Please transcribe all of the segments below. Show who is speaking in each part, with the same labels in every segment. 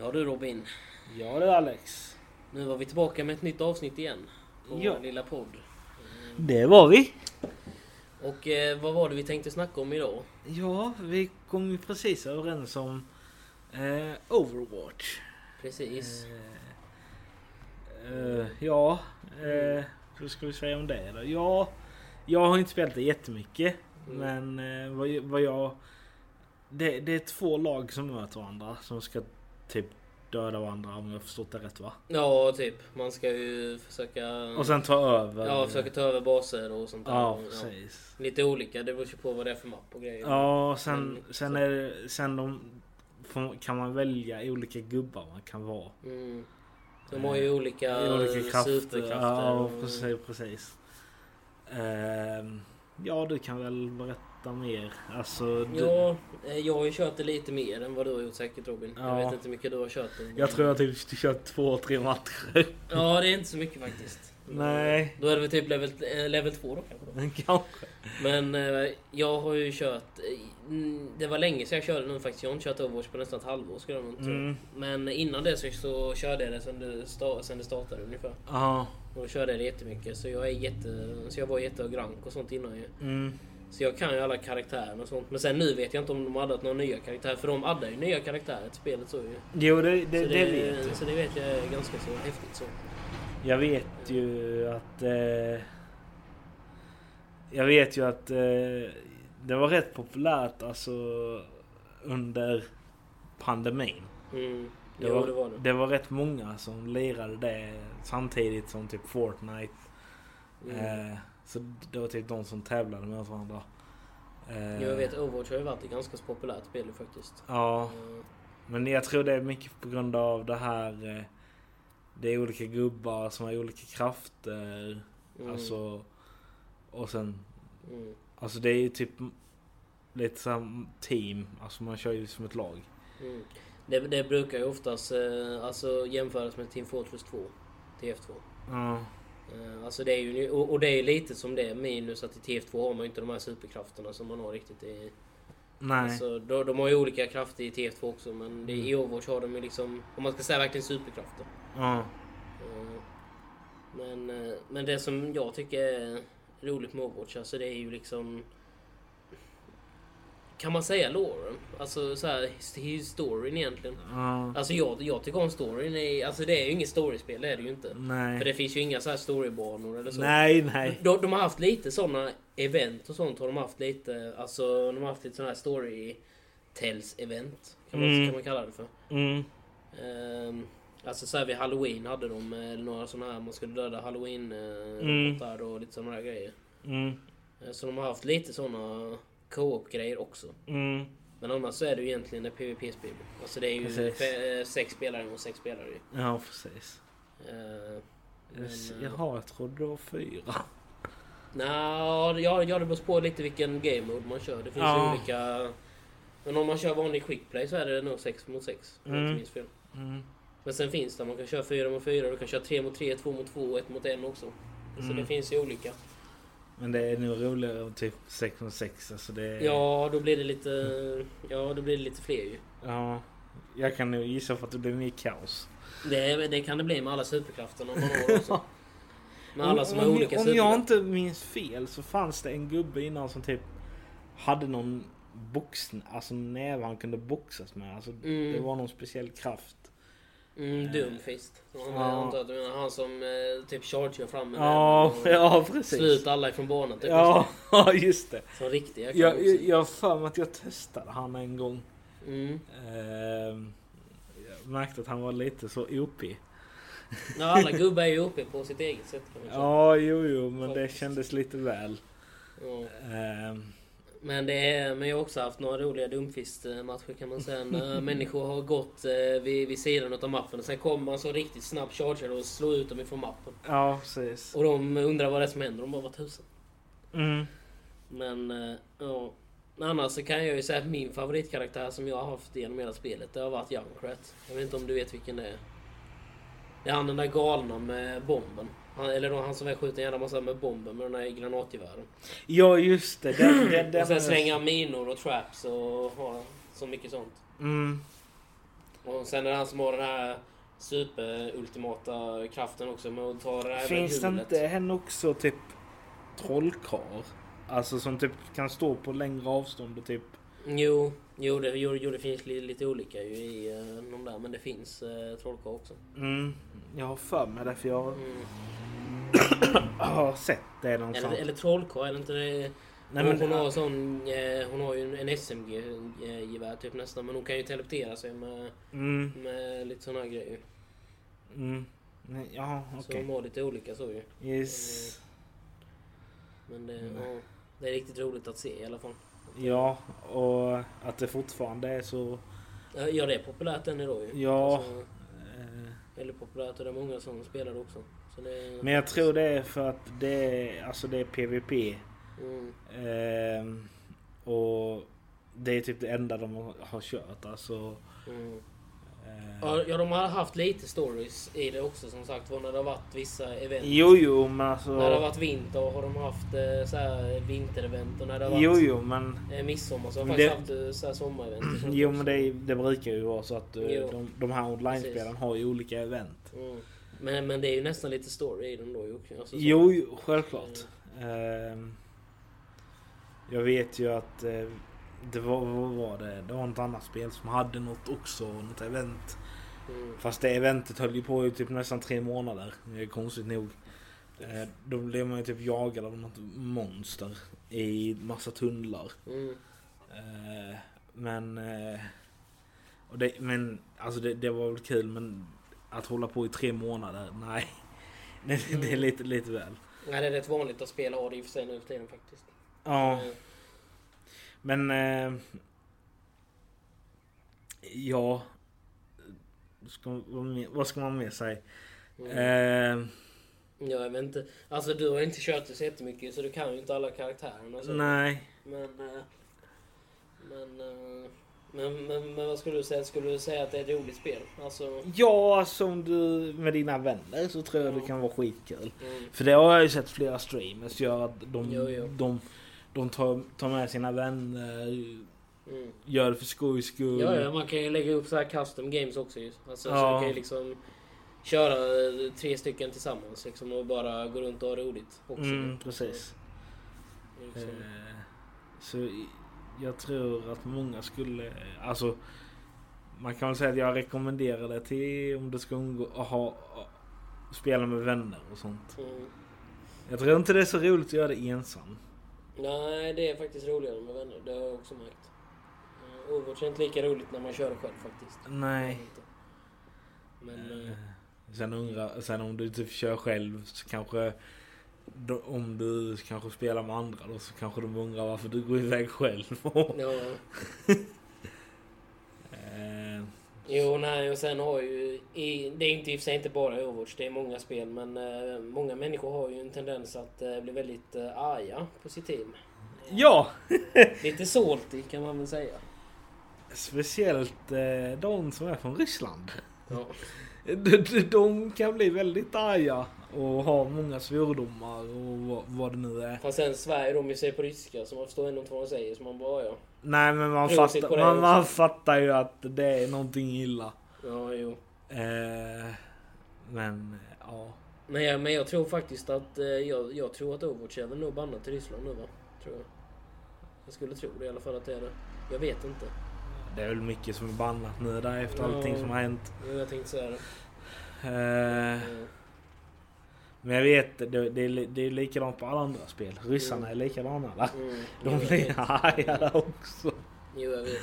Speaker 1: Ja du Robin,
Speaker 2: Ja det är Alex.
Speaker 1: nu var vi tillbaka med ett nytt avsnitt igen. På
Speaker 2: Ja.
Speaker 1: vår lilla podd.
Speaker 2: Det var vi.
Speaker 1: Och eh, vad var det vi tänkte snacka om idag?
Speaker 2: Ja, vi kom ju precis överens om eh, Overwatch.
Speaker 1: Precis.
Speaker 2: Eh, eh, ja, eh, vad ska vi säga om det då? Ja, jag har inte spelat det jättemycket.
Speaker 1: Mm.
Speaker 2: Men eh, vad, vad jag... Det, det är två lag som möter varandra som ska typ döda varandra om jag har förstått det rätt va?
Speaker 1: Ja, typ. Man ska ju försöka...
Speaker 2: Och sen ta över.
Speaker 1: Mm. ja, försöka ta över baser och sånt där.
Speaker 2: Ja,
Speaker 1: Och, ja.
Speaker 2: precis.
Speaker 1: Lite olika, det beror ju på vad det är för mapp och grejer.
Speaker 2: Ja, och sen,
Speaker 1: Mm,
Speaker 2: sen,
Speaker 1: så.
Speaker 2: är, det- sen de, får- kan man välja olika gubbar man kan vara.
Speaker 1: Mm. De har ju olika,
Speaker 2: I Eh, olika krafter.
Speaker 1: superkrafter.
Speaker 2: Ja,
Speaker 1: och-
Speaker 2: precis. precis. Ehm, ja, du kan väl berätta mer. Alltså, du,
Speaker 1: Ja, eh, jag har ju kört det lite mer än vad du har gjort säkert Robin.
Speaker 2: Ja.
Speaker 1: Jag vet inte hur mycket du har kört det. men-
Speaker 2: Jag tror jag typ kört två, tre matcher.
Speaker 1: Ja, det är inte så mycket faktiskt.
Speaker 2: Nej.
Speaker 1: Då är det väl typ level, eh, level 2 då kanske. Då.
Speaker 2: Kanske.
Speaker 1: Men eh, jag har ju kört... eh, mm, Det var länge sedan jag körde nu faktiskt. Jag har inte kört Overwatch på nästan ett halvår skulle jag nog tro.
Speaker 2: Mm.
Speaker 1: Men innan det så, så körde jag det sen det, sta- sen det startade ungefär.
Speaker 2: Ja.
Speaker 1: Och då körde jag det jättemycket. Så jag, är jätte, så jag var jätteagrank och sånt innan ju.
Speaker 2: Mm.
Speaker 1: Så jag kan ju alla karaktärer och sånt. Men sen nu vet jag inte om de har addat några nya karaktärer. För de addar ju nya karaktärer till spelet så ju.
Speaker 2: Jo, det, det,
Speaker 1: så,
Speaker 2: det vet
Speaker 1: så det vet jag är ganska så häftigt så.
Speaker 2: Jag vet ju att... Eh, jag vet ju att eh, det var rätt populärt alltså under pandemin.
Speaker 1: Mm.
Speaker 2: Det,
Speaker 1: jo,
Speaker 2: var,
Speaker 1: det var det.
Speaker 2: det var rätt många som lirade det samtidigt som typ Fortnite.
Speaker 1: Mm.
Speaker 2: Eh, så det var typ de som tävlade med varandra. Eh,
Speaker 1: Jag vet Overwatch har ju varit ett ganska så populärt spel ju faktiskt.
Speaker 2: Ja,
Speaker 1: Eh,
Speaker 2: men jag tror det är mycket på grund av det här. Eh, det är olika gubbar som har olika krafter.
Speaker 1: Mm.
Speaker 2: Alltså, och sen
Speaker 1: Mm.
Speaker 2: Alltså det är ju typ lite som team. Alltså man kör ju som ett lag.
Speaker 1: Mm. Det, det brukar ju oftast eh, alltså, jämföras med Team Fortress 2. TF2.
Speaker 2: Ja.
Speaker 1: Eh, alltså det är ju, och, och det är ju lite som det minus att i TF2 har man ju inte de här superkrafterna som man har riktigt i...
Speaker 2: Nej.
Speaker 1: Alltså, de, de har ju olika krafter i TF2 också men det,
Speaker 2: Mm.
Speaker 1: i Overwatch har de ju liksom, om man ska säga verkligen superkrafter.
Speaker 2: ja.
Speaker 1: Eh, Men, eh, men det som jag tycker är roligt med Overwatch, alltså det är ju liksom... Kan man säga loren? Alltså så här, his- historien egentligen.
Speaker 2: ja.
Speaker 1: Alltså jag, jag tycker om storyn. I, alltså det är ju inget storiespel, det är det ju inte. För
Speaker 2: Nej.
Speaker 1: det finns ju inga så här storybanor eller så.
Speaker 2: Nej, nej.
Speaker 1: De, de har haft lite sådana event och sånt har de haft lite. Alltså de har haft lite sådana här story tells event. Kan man,
Speaker 2: Mm.
Speaker 1: kan man kalla det för.
Speaker 2: Mm.
Speaker 1: Ehm, alltså såhär vid halloween hade de eh, några sådana här, man skulle döda halloween eh,
Speaker 2: Mm.
Speaker 1: robotar och lite sådana här grejer.
Speaker 2: Mm.
Speaker 1: Eh, Så de har haft lite sådana co-op grejer också.
Speaker 2: Mm.
Speaker 1: Men annars så är det ju egentligen ett PVP-spel. Alltså det är ju
Speaker 2: Precis.
Speaker 1: fe- eh, sex spelare mot sex spelare ju.
Speaker 2: Ja, precis.
Speaker 1: Eh, Men, eh,
Speaker 2: Jaha, jag trodde det var fyra.
Speaker 1: Nja, ja, ja, det beror på lite vilken game mode man kör. Det finns
Speaker 2: Ja.
Speaker 1: ju olika... Men om man kör vanlig quick play så är det nog 6 mot 6. Om jag inte
Speaker 2: Mm.
Speaker 1: minns fel.
Speaker 2: Mm.
Speaker 1: Men sen finns det, man kan köra 4 mot 4, du kan köra 3 mot 3, 2 mot 2 och 1 mot 1 också. Så
Speaker 2: Mm.
Speaker 1: det finns ju olika.
Speaker 2: Men det är nog roligare om typ 6 och 6. Alltså det är...
Speaker 1: Ja, då blir det lite... Ja, då blir det lite fler ju.
Speaker 2: ja. Jag kan nog gissa för att det blir mer kaos.
Speaker 1: Det, det kan det bli med alla superkrafterna man har också. Med alla som
Speaker 2: Om-
Speaker 1: har
Speaker 2: om,
Speaker 1: olika
Speaker 2: Om jag
Speaker 1: superkrafter.
Speaker 2: inte minns fel så fanns det en gubbe innan som typ hade någon box, alltså näve han kunde boxas med. Alltså
Speaker 1: Mm.
Speaker 2: det var någon speciell kraft.
Speaker 1: Mm, Doomfist. Han,
Speaker 2: Ja.
Speaker 1: jag antar att du menar han som eh, typ chargear fram med
Speaker 2: Ja,
Speaker 1: näven och
Speaker 2: ja precis.
Speaker 1: Slut alla ifrån banan typ.
Speaker 2: Ja, just det.
Speaker 1: Som riktiga kan
Speaker 2: Jag,
Speaker 1: också.
Speaker 2: jag, jag har för mig att jag testade han en gång.
Speaker 1: Mm.
Speaker 2: Ehm, Jag märkte att han var lite så OP.
Speaker 1: Ja, alla gubbar är ju uppe på sitt eget sätt kan man säga.
Speaker 2: Ja, jo, jo, men det
Speaker 1: Faktiskt.
Speaker 2: kändes lite väl.
Speaker 1: Ja.
Speaker 2: Ehm,
Speaker 1: Men, det är, men jag har också haft några roliga dumfist-matcher kan man säga. När människor har gått eh, vid, vid sidan av mappen och sen kommer man så riktigt snabb charger och slår ut dem ifrån mappen.
Speaker 2: Ja, precis.
Speaker 1: Och de undrar vad det är som händer. De bara, vad tusan?
Speaker 2: Mm.
Speaker 1: Men eh, ja. Men Annars så kan jag ju säga att min favoritkaraktär som jag har haft genom hela spelet det har varit Junkrat. Jag vet inte om du vet vilken det är. Det är han den där galna med bomben. Han, eller då han som är skjuten en jävla massa med bomben med den där granatgevären.
Speaker 2: Ja, just det. Den, den, den
Speaker 1: Och sen slänga minor och traps och ha så mycket sånt.
Speaker 2: Mm.
Speaker 1: Och Och sen är det han som har den här superultimata kraften också med att ta det här
Speaker 2: Finns det
Speaker 1: hjulet.
Speaker 2: inte henne också typ trollkarl? Alltså som typ kan stå på längre avstånd och typ...
Speaker 1: Jo, jo det, jo, jo, det finns li, lite olika ju i eh, de där. Men det finns eh, trollkarlar också.
Speaker 2: Mm, jag har för mig det för jag
Speaker 1: Mm.
Speaker 2: har sett det
Speaker 1: Eller,
Speaker 2: någonstans.
Speaker 1: eller trollkarl, eller inte det? hon,
Speaker 2: Nej, men-
Speaker 1: hon har sån, eh, hon har ju en- en SMG-gevär typ nästan. Men hon kan ju teleportera sig med,
Speaker 2: Mm,
Speaker 1: med lite såna här grejer.
Speaker 2: mm. Nej, ja,
Speaker 1: Så
Speaker 2: okej.
Speaker 1: de har lite olika så eh, ju.
Speaker 2: Yes.
Speaker 1: Men det,
Speaker 2: Mm.
Speaker 1: ja, det är riktigt roligt att se i alla fall.
Speaker 2: Ja, och att det fortfarande är så...
Speaker 1: Eh, Ja, det är populärt än idag ju.
Speaker 2: Ja.
Speaker 1: Alltså,
Speaker 2: eh,
Speaker 1: väldigt populärt och det är många som spelar det också. Så det,
Speaker 2: Men jag tror det är för att det är, alltså det är PVP.
Speaker 1: Mm,
Speaker 2: Ehm, och det är typ det enda de har- har kört. Alltså,
Speaker 1: mm.
Speaker 2: eh,
Speaker 1: Ja, ja, de har haft lite stories i det också som sagt var när det har varit vissa event.
Speaker 2: Jo, jo, men alltså...
Speaker 1: När det har varit vinter har de haft eh, så här vinterevent och när det har varit
Speaker 2: Jo, jo, men...
Speaker 1: eh, midsommar så har de
Speaker 2: Men
Speaker 1: faktiskt
Speaker 2: det-
Speaker 1: haft eh, så här sommarevent. och sånt
Speaker 2: Jo,
Speaker 1: också.
Speaker 2: men det, det brukar ju vara så att eh,
Speaker 1: Jo.
Speaker 2: de, de här online-spelen
Speaker 1: Precis.
Speaker 2: har ju olika event.
Speaker 1: Mm. Men, men det är ju nästan lite story i dem då ju. också. Alltså, så- Mm.
Speaker 2: Jo, jo, självklart. Ehm, jag vet ju att eh, det var, vad var det? Det var något annat spel som hade något också, något event.
Speaker 1: Mm.
Speaker 2: Fast det eventet höll ju på i typ nästan tre månader, eh, konstigt nog. Eh, då blev man ju typ jagad av något monster i massa tunnlar.
Speaker 1: Mm.
Speaker 2: Eh, men... eh, Och det, men alltså det, det var väl kul men att hålla på i tre månader, nej. Det, det är lite, lite väl.
Speaker 1: Nej, det är rätt vanligt att spela har det i och för sig nu för tiden faktiskt.
Speaker 2: Ja,
Speaker 1: Mm.
Speaker 2: men... eh, Ja... Ska, vad mer- vad ska man mer säga? Eh,
Speaker 1: mm. Ja, jag vet inte. Alltså du har inte kört det så jättemycket så du kan ju inte alla karaktärerna. Så.
Speaker 2: nej.
Speaker 1: Men, eh, men, eh, men, men, men vad skulle du säga? Skulle du säga att det är ett roligt spel? Alltså...
Speaker 2: Ja, som du med dina vänner så tror jag det kan vara skitkul.
Speaker 1: Mm,
Speaker 2: För det har jag ju sett flera streamers göra. Att de,
Speaker 1: Jo, jo.
Speaker 2: de, de tar, tar med sina vänner,
Speaker 1: mm.
Speaker 2: gör det för skojs skull.
Speaker 1: Ja, ja, man kan ju lägga upp så här custom games också ju. Alltså, så
Speaker 2: Mm. Ja.
Speaker 1: man kan ju liksom köra eh, tre stycken tillsammans liksom och bara gå runt och ha roligt också.
Speaker 2: Mm, precis.
Speaker 1: Så, liksom.
Speaker 2: Eh, Så i- jag tror att många skulle... Alltså, man kan väl säga att jag rekommenderar det till om du ska umgå, ha, spela med vänner och sånt.
Speaker 1: Mm.
Speaker 2: Jag tror inte det är så roligt att göra det ensam.
Speaker 1: Nej, det är faktiskt roligare med vänner. Det har jag också märkt. Eh, Overwatch är inte lika roligt när man kör det själv faktiskt.
Speaker 2: Nej.
Speaker 1: Inte. Men... eh,
Speaker 2: Sen, undra, sen om du typ kör själv så kanske då- om du kanske spelar med andra då så kanske de undrar varför du går iväg själv.
Speaker 1: ja.
Speaker 2: Eh,
Speaker 1: Jo, nej, och sen har ju... I, det är inte, i och för sig inte bara Overwatch, det är många spel, men eh, många människor har ju en tendens att eh, bli väldigt eh, arga på sitt team.
Speaker 2: ja!
Speaker 1: Lite salty kan man väl säga.
Speaker 2: Speciellt eh, de som är från Ryssland.
Speaker 1: Ja.
Speaker 2: De, de, de kan bli väldigt arga och ha många svordomar och vad, vad det nu är.
Speaker 1: Fast sen svär de ju sig på ryska, så man förstår ändå inte vad de säger, så man bara ja.
Speaker 2: Nej men man
Speaker 1: Roligt på
Speaker 2: fattar,
Speaker 1: det
Speaker 2: man,
Speaker 1: också.
Speaker 2: man fattar ju att det är någonting illa.
Speaker 1: Ja, jo.
Speaker 2: Eh, men ja.
Speaker 1: Men jag, men jag tror faktiskt att... Eh, jag, jag tror att Overwatch är väl nog bannat till Ryssland nu, va? Tror jag. Jag skulle tro det i alla fall att det är det. Jag vet inte.
Speaker 2: Det är väl mycket som är bannat nu där efter
Speaker 1: Ja.
Speaker 2: allting som har hänt.
Speaker 1: Jo, jag tänkte säga det.
Speaker 2: Eh,
Speaker 1: Eh,
Speaker 2: men jag vet, det, det, är, li- det är likadant på alla andra spel. Ryssarna är likadana va?
Speaker 1: Mm, jo,
Speaker 2: De
Speaker 1: jag
Speaker 2: blir
Speaker 1: vet.
Speaker 2: arga där också.
Speaker 1: Jo, jag vet.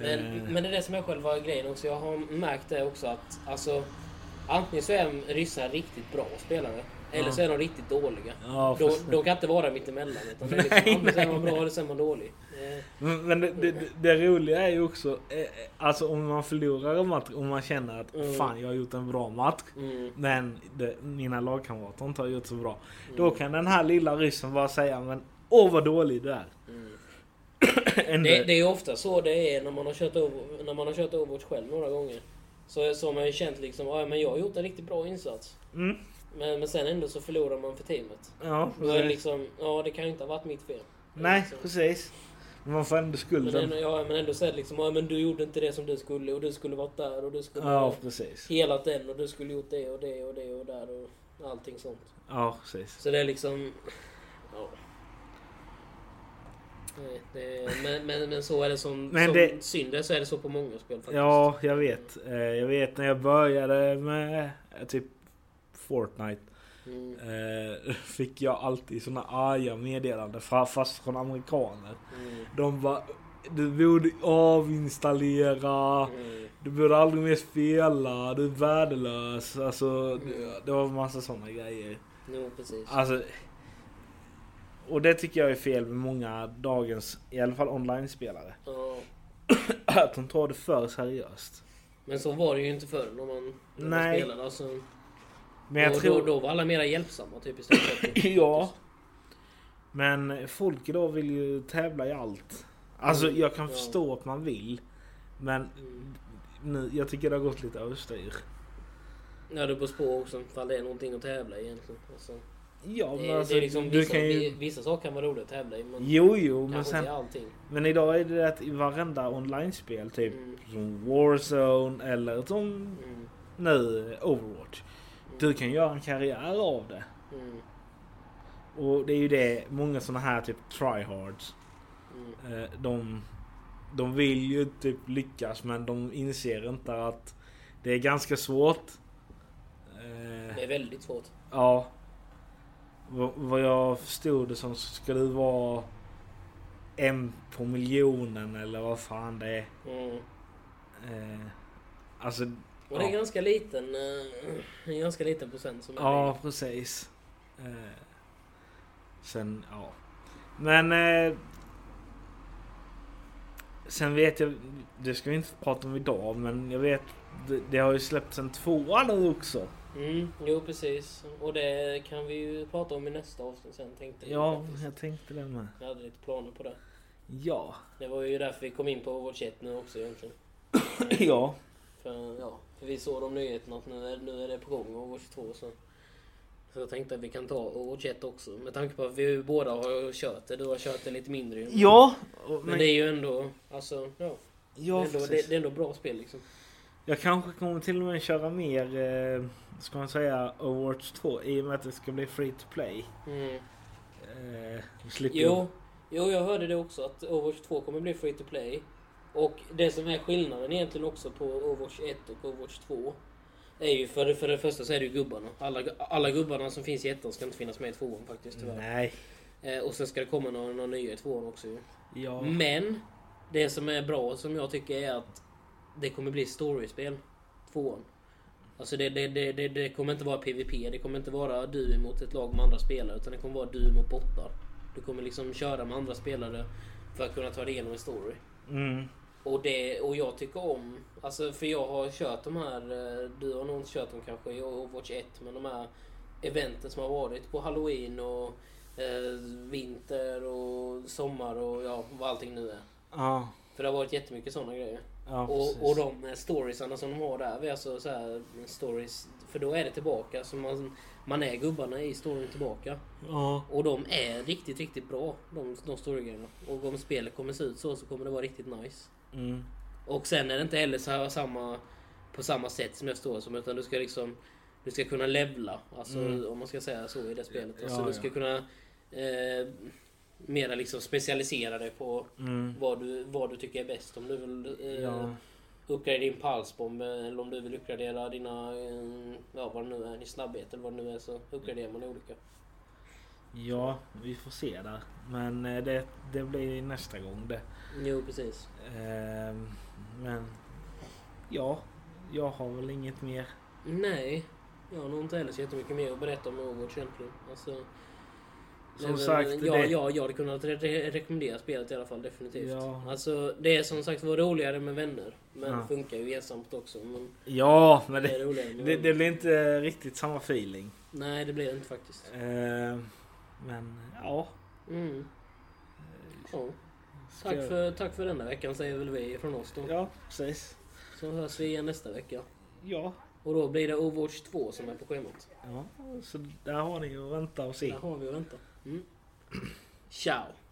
Speaker 1: Men,
Speaker 2: Eh.
Speaker 1: men det är det som är själva grejen också. Jag har märkt det också att alltså, antingen så är ryssar riktigt bra spelare eller
Speaker 2: Ja.
Speaker 1: så är de riktigt dåliga.
Speaker 2: Ja,
Speaker 1: De,
Speaker 2: fast-
Speaker 1: de kan inte vara mittemellan. Utan det är
Speaker 2: Nej,
Speaker 1: liksom, antingen så är
Speaker 2: nej,
Speaker 1: man
Speaker 2: nej.
Speaker 1: bra eller så är man dålig. Eh,
Speaker 2: Men Mm, men det, det, det- det roliga är ju också, eh, eh, alltså om man förlorar en match och man känner att
Speaker 1: Mm.
Speaker 2: fan jag har gjort en bra match.
Speaker 1: Mm,
Speaker 2: Men det, mina lagkamrater inte har gjort så bra. Då
Speaker 1: Mm.
Speaker 2: kan den här lilla ryssen bara säga men åh vad dålig du är.
Speaker 1: mm.
Speaker 2: Ändå-
Speaker 1: Det, det är ju ofta så det är när man har kört, over, när man har kört Overwatch själv några gånger. Så, så har man ju känt liksom, "Ah, ja, men jag har gjort en riktigt bra insats.
Speaker 2: Mm,
Speaker 1: Men, men sen ändå så förlorar man för teamet.
Speaker 2: ja,
Speaker 1: Då är det
Speaker 2: precis.
Speaker 1: liksom, ja det kan ju inte ha varit mitt fel.
Speaker 2: Nej
Speaker 1: Liksom.
Speaker 2: precis. Men man får ändå
Speaker 1: Men,
Speaker 2: skulden.
Speaker 1: ändå, ja, men ändå sett liksom, ja, men du gjorde inte det som du skulle och du skulle varit där och du skulle
Speaker 2: Ja, precis.
Speaker 1: helat den och du skulle gjort det och det och det och där och allting sånt.
Speaker 2: Ja, precis.
Speaker 1: Så det är liksom... Ja. Nej, det, men, men, men så är det som,
Speaker 2: Men
Speaker 1: som
Speaker 2: det-
Speaker 1: synd är så är det så på många spel faktiskt.
Speaker 2: Ja, jag vet. Eh, Jag vet när jag började med eh, typ Fortnite.
Speaker 1: Mm,
Speaker 2: eh, Fick jag alltid såna arga meddelanden, fa- fast från amerikaner.
Speaker 1: mm,
Speaker 2: De bara Du borde avinstallera.
Speaker 1: mm.
Speaker 2: Du borde aldrig mer spela. Du är värdelös. Alltså, det, det var en massa såna grejer.
Speaker 1: Jo, precis.
Speaker 2: Alltså, och det tycker jag är fel med många dagens, i alla fall online-spelare.
Speaker 1: Ja.
Speaker 2: Att de tar det för seriöst.
Speaker 1: Men så var det ju inte förr när man, när man
Speaker 2: Nej.
Speaker 1: spelade. Alltså,
Speaker 2: Men jag
Speaker 1: då,
Speaker 2: tror...
Speaker 1: då, då var alla mera hjälpsamma typ istället. för-
Speaker 2: Ja. Men folk idag vill ju tävla i allt. Alltså
Speaker 1: Mm,
Speaker 2: jag kan
Speaker 1: ja.
Speaker 2: förstå att man vill. Men
Speaker 1: Mm.
Speaker 2: nu, jag tycker det har gått lite överstyr.
Speaker 1: Ja, det beror på också ifall det är någonting att tävla i egentligen. Alltså,
Speaker 2: Ja
Speaker 1: det,
Speaker 2: men
Speaker 1: är-
Speaker 2: alltså,
Speaker 1: det är liksom
Speaker 2: du
Speaker 1: vissa,
Speaker 2: kan
Speaker 1: vi-
Speaker 2: ju...
Speaker 1: vissa saker kan vara roliga att tävla i men
Speaker 2: Jo jo men
Speaker 1: kanske
Speaker 2: sen...
Speaker 1: inte allting.
Speaker 2: Men idag är det att i varenda online-spel typ.
Speaker 1: Mm,
Speaker 2: Som Warzone eller som
Speaker 1: mm,
Speaker 2: nu Overwatch. Du kan göra en karriär av det.
Speaker 1: mm,
Speaker 2: Och det är ju det många såna här typ tryhards
Speaker 1: mm,
Speaker 2: Eh, De, de vill ju typ lyckas men de inser inte att det är ganska svårt. Eh,
Speaker 1: Det är väldigt svårt.
Speaker 2: Ja. Vad- Vad jag förstod det som så ska du vara en på miljonen eller vad fan det är.
Speaker 1: Mm.
Speaker 2: Eh, Alltså,
Speaker 1: Och det är
Speaker 2: Ja.
Speaker 1: ganska liten, eh, en ganska liten procent som är
Speaker 2: ja precis. Eh, Sen, ja. Men... eh, Sen vet jag, det ska vi inte prata om idag, men jag vet det, det har ju släppts en tvåa nu också.
Speaker 1: det. Mm, jo precis. Och det kan vi ju prata om i nästa avsnitt sen tänkte vi
Speaker 2: Ja,
Speaker 1: faktiskt.
Speaker 2: jag tänkte det med.
Speaker 1: Jag hade lite planer på det.
Speaker 2: Ja.
Speaker 1: Det var ju därför vi kom in på vårt chat nu också egentligen.
Speaker 2: Ja.
Speaker 1: För, ja, för vi såg de nyheterna att nu är, nu är det på gång och år 22 så. Så jag tänkte att vi kan ta år 21 också. Med tanke på att vi båda har kört det. Du har kört det lite mindre ju.
Speaker 2: Ja. och-
Speaker 1: Men det är ju ändå, alltså, ja.
Speaker 2: ja
Speaker 1: det, är ändå,
Speaker 2: precis.
Speaker 1: det, det är ändå bra spel liksom.
Speaker 2: Jag kanske kommer till och med köra mer, eh, ska man säga, Awards 2 i och med att det ska bli free to play.
Speaker 1: Mm.
Speaker 2: Eh, då slipper
Speaker 1: Jo, jo, jag hörde det också att Overwatch 2 kommer bli free to play. Och det som är skillnaden egentligen också på Overwatch 1 och Overwatch 2 är ju för, för det första så är det ju gubbarna. Alla, alla gubbarna som finns i ettan ska inte finnas med i tvåan faktiskt
Speaker 2: jag...
Speaker 1: tyvärr.
Speaker 2: Nej.
Speaker 1: Eh, och sen ska det komma några, några nya i tvåan också ju.
Speaker 2: Ja.
Speaker 1: Men det som är bra som jag tycker är att det kommer bli storyspel. Tvåan. Alltså det, det, det, det, det kommer inte vara PVP. Det kommer inte vara du mot ett lag med andra spelare. Utan det kommer vara du mot bottar. Du kommer liksom köra med andra spelare för att kunna ta dig igenom en story.
Speaker 2: Mm.
Speaker 1: Och, det, och jag tycker om, alltså för jag har kört de här, eh, du har nog inte kört dem kanske i Overwatch 1, men de här eventen som har varit på Halloween och eh, vinter och sommar och ja, vad allting nu är.
Speaker 2: Ja.
Speaker 1: För det har varit jättemycket sådana grejer.
Speaker 2: Ja, precis.
Speaker 1: och, och de eh, storiesarna som de har där, vi är alltså så här stories, för då är det tillbaka. Så man, man är gubbarna i storyn tillbaka.
Speaker 2: Ja.
Speaker 1: Och de är riktigt, riktigt bra, de, de storygrejerna. Och om spelet kommer se ut så, så kommer det vara riktigt nice.
Speaker 2: Mm.
Speaker 1: Och sen är det inte heller så här samma, på samma sätt som jag står som utan du ska liksom Du ska kunna levla, alltså,
Speaker 2: Mm.
Speaker 1: om man ska säga så i det spelet.
Speaker 2: Ja,
Speaker 1: Alltså,
Speaker 2: ja.
Speaker 1: du ska kunna eh, mera liksom specialisera dig på
Speaker 2: Mm.
Speaker 1: vad du, vad du tycker är bäst. Om du vill eh,
Speaker 2: Ja.
Speaker 1: uppgradera din pulsbomb eller om du vill uppgradera dina, eh, ja vad det nu är, din snabbhet eller vad det nu är så uppgraderar man olika.
Speaker 2: ja, vi får se där. Men eh, det, det blir nästa gång det.
Speaker 1: Jo precis.
Speaker 2: Ehm, men ja, jag har väl inget mer.
Speaker 1: Nej, jag har nog inte heller så jättemycket mer att berätta om Overwatch egentligen. Alltså,
Speaker 2: Som
Speaker 1: men-
Speaker 2: sagt,
Speaker 1: ja,
Speaker 2: det-
Speaker 1: ja, jag hade kunnat re- re- rekommendera spelet i alla fall, definitivt.
Speaker 2: Ja.
Speaker 1: Alltså, det är som sagt var roligare med vänner, men
Speaker 2: Ja.
Speaker 1: funkar ju ensamt också. Men
Speaker 2: Ja, men
Speaker 1: det är
Speaker 2: det,
Speaker 1: roligare med
Speaker 2: det,
Speaker 1: vänner.
Speaker 2: det blir inte riktigt samma feeling.
Speaker 1: Nej, det blir det inte faktiskt.
Speaker 2: Ehm, men ja.
Speaker 1: Mm. Ja.
Speaker 2: Ska
Speaker 1: Tack,
Speaker 2: jag-
Speaker 1: för, tack för denna veckan säger väl vi från oss då.
Speaker 2: Ja, precis.
Speaker 1: Så hörs vi igen nästa vecka.
Speaker 2: Ja.
Speaker 1: Och då blir det Overwatch 2 som är på schemat.
Speaker 2: ja. Så där har ni att vänta och
Speaker 1: Där
Speaker 2: se.
Speaker 1: har vi att vänta. Mm. Ciao!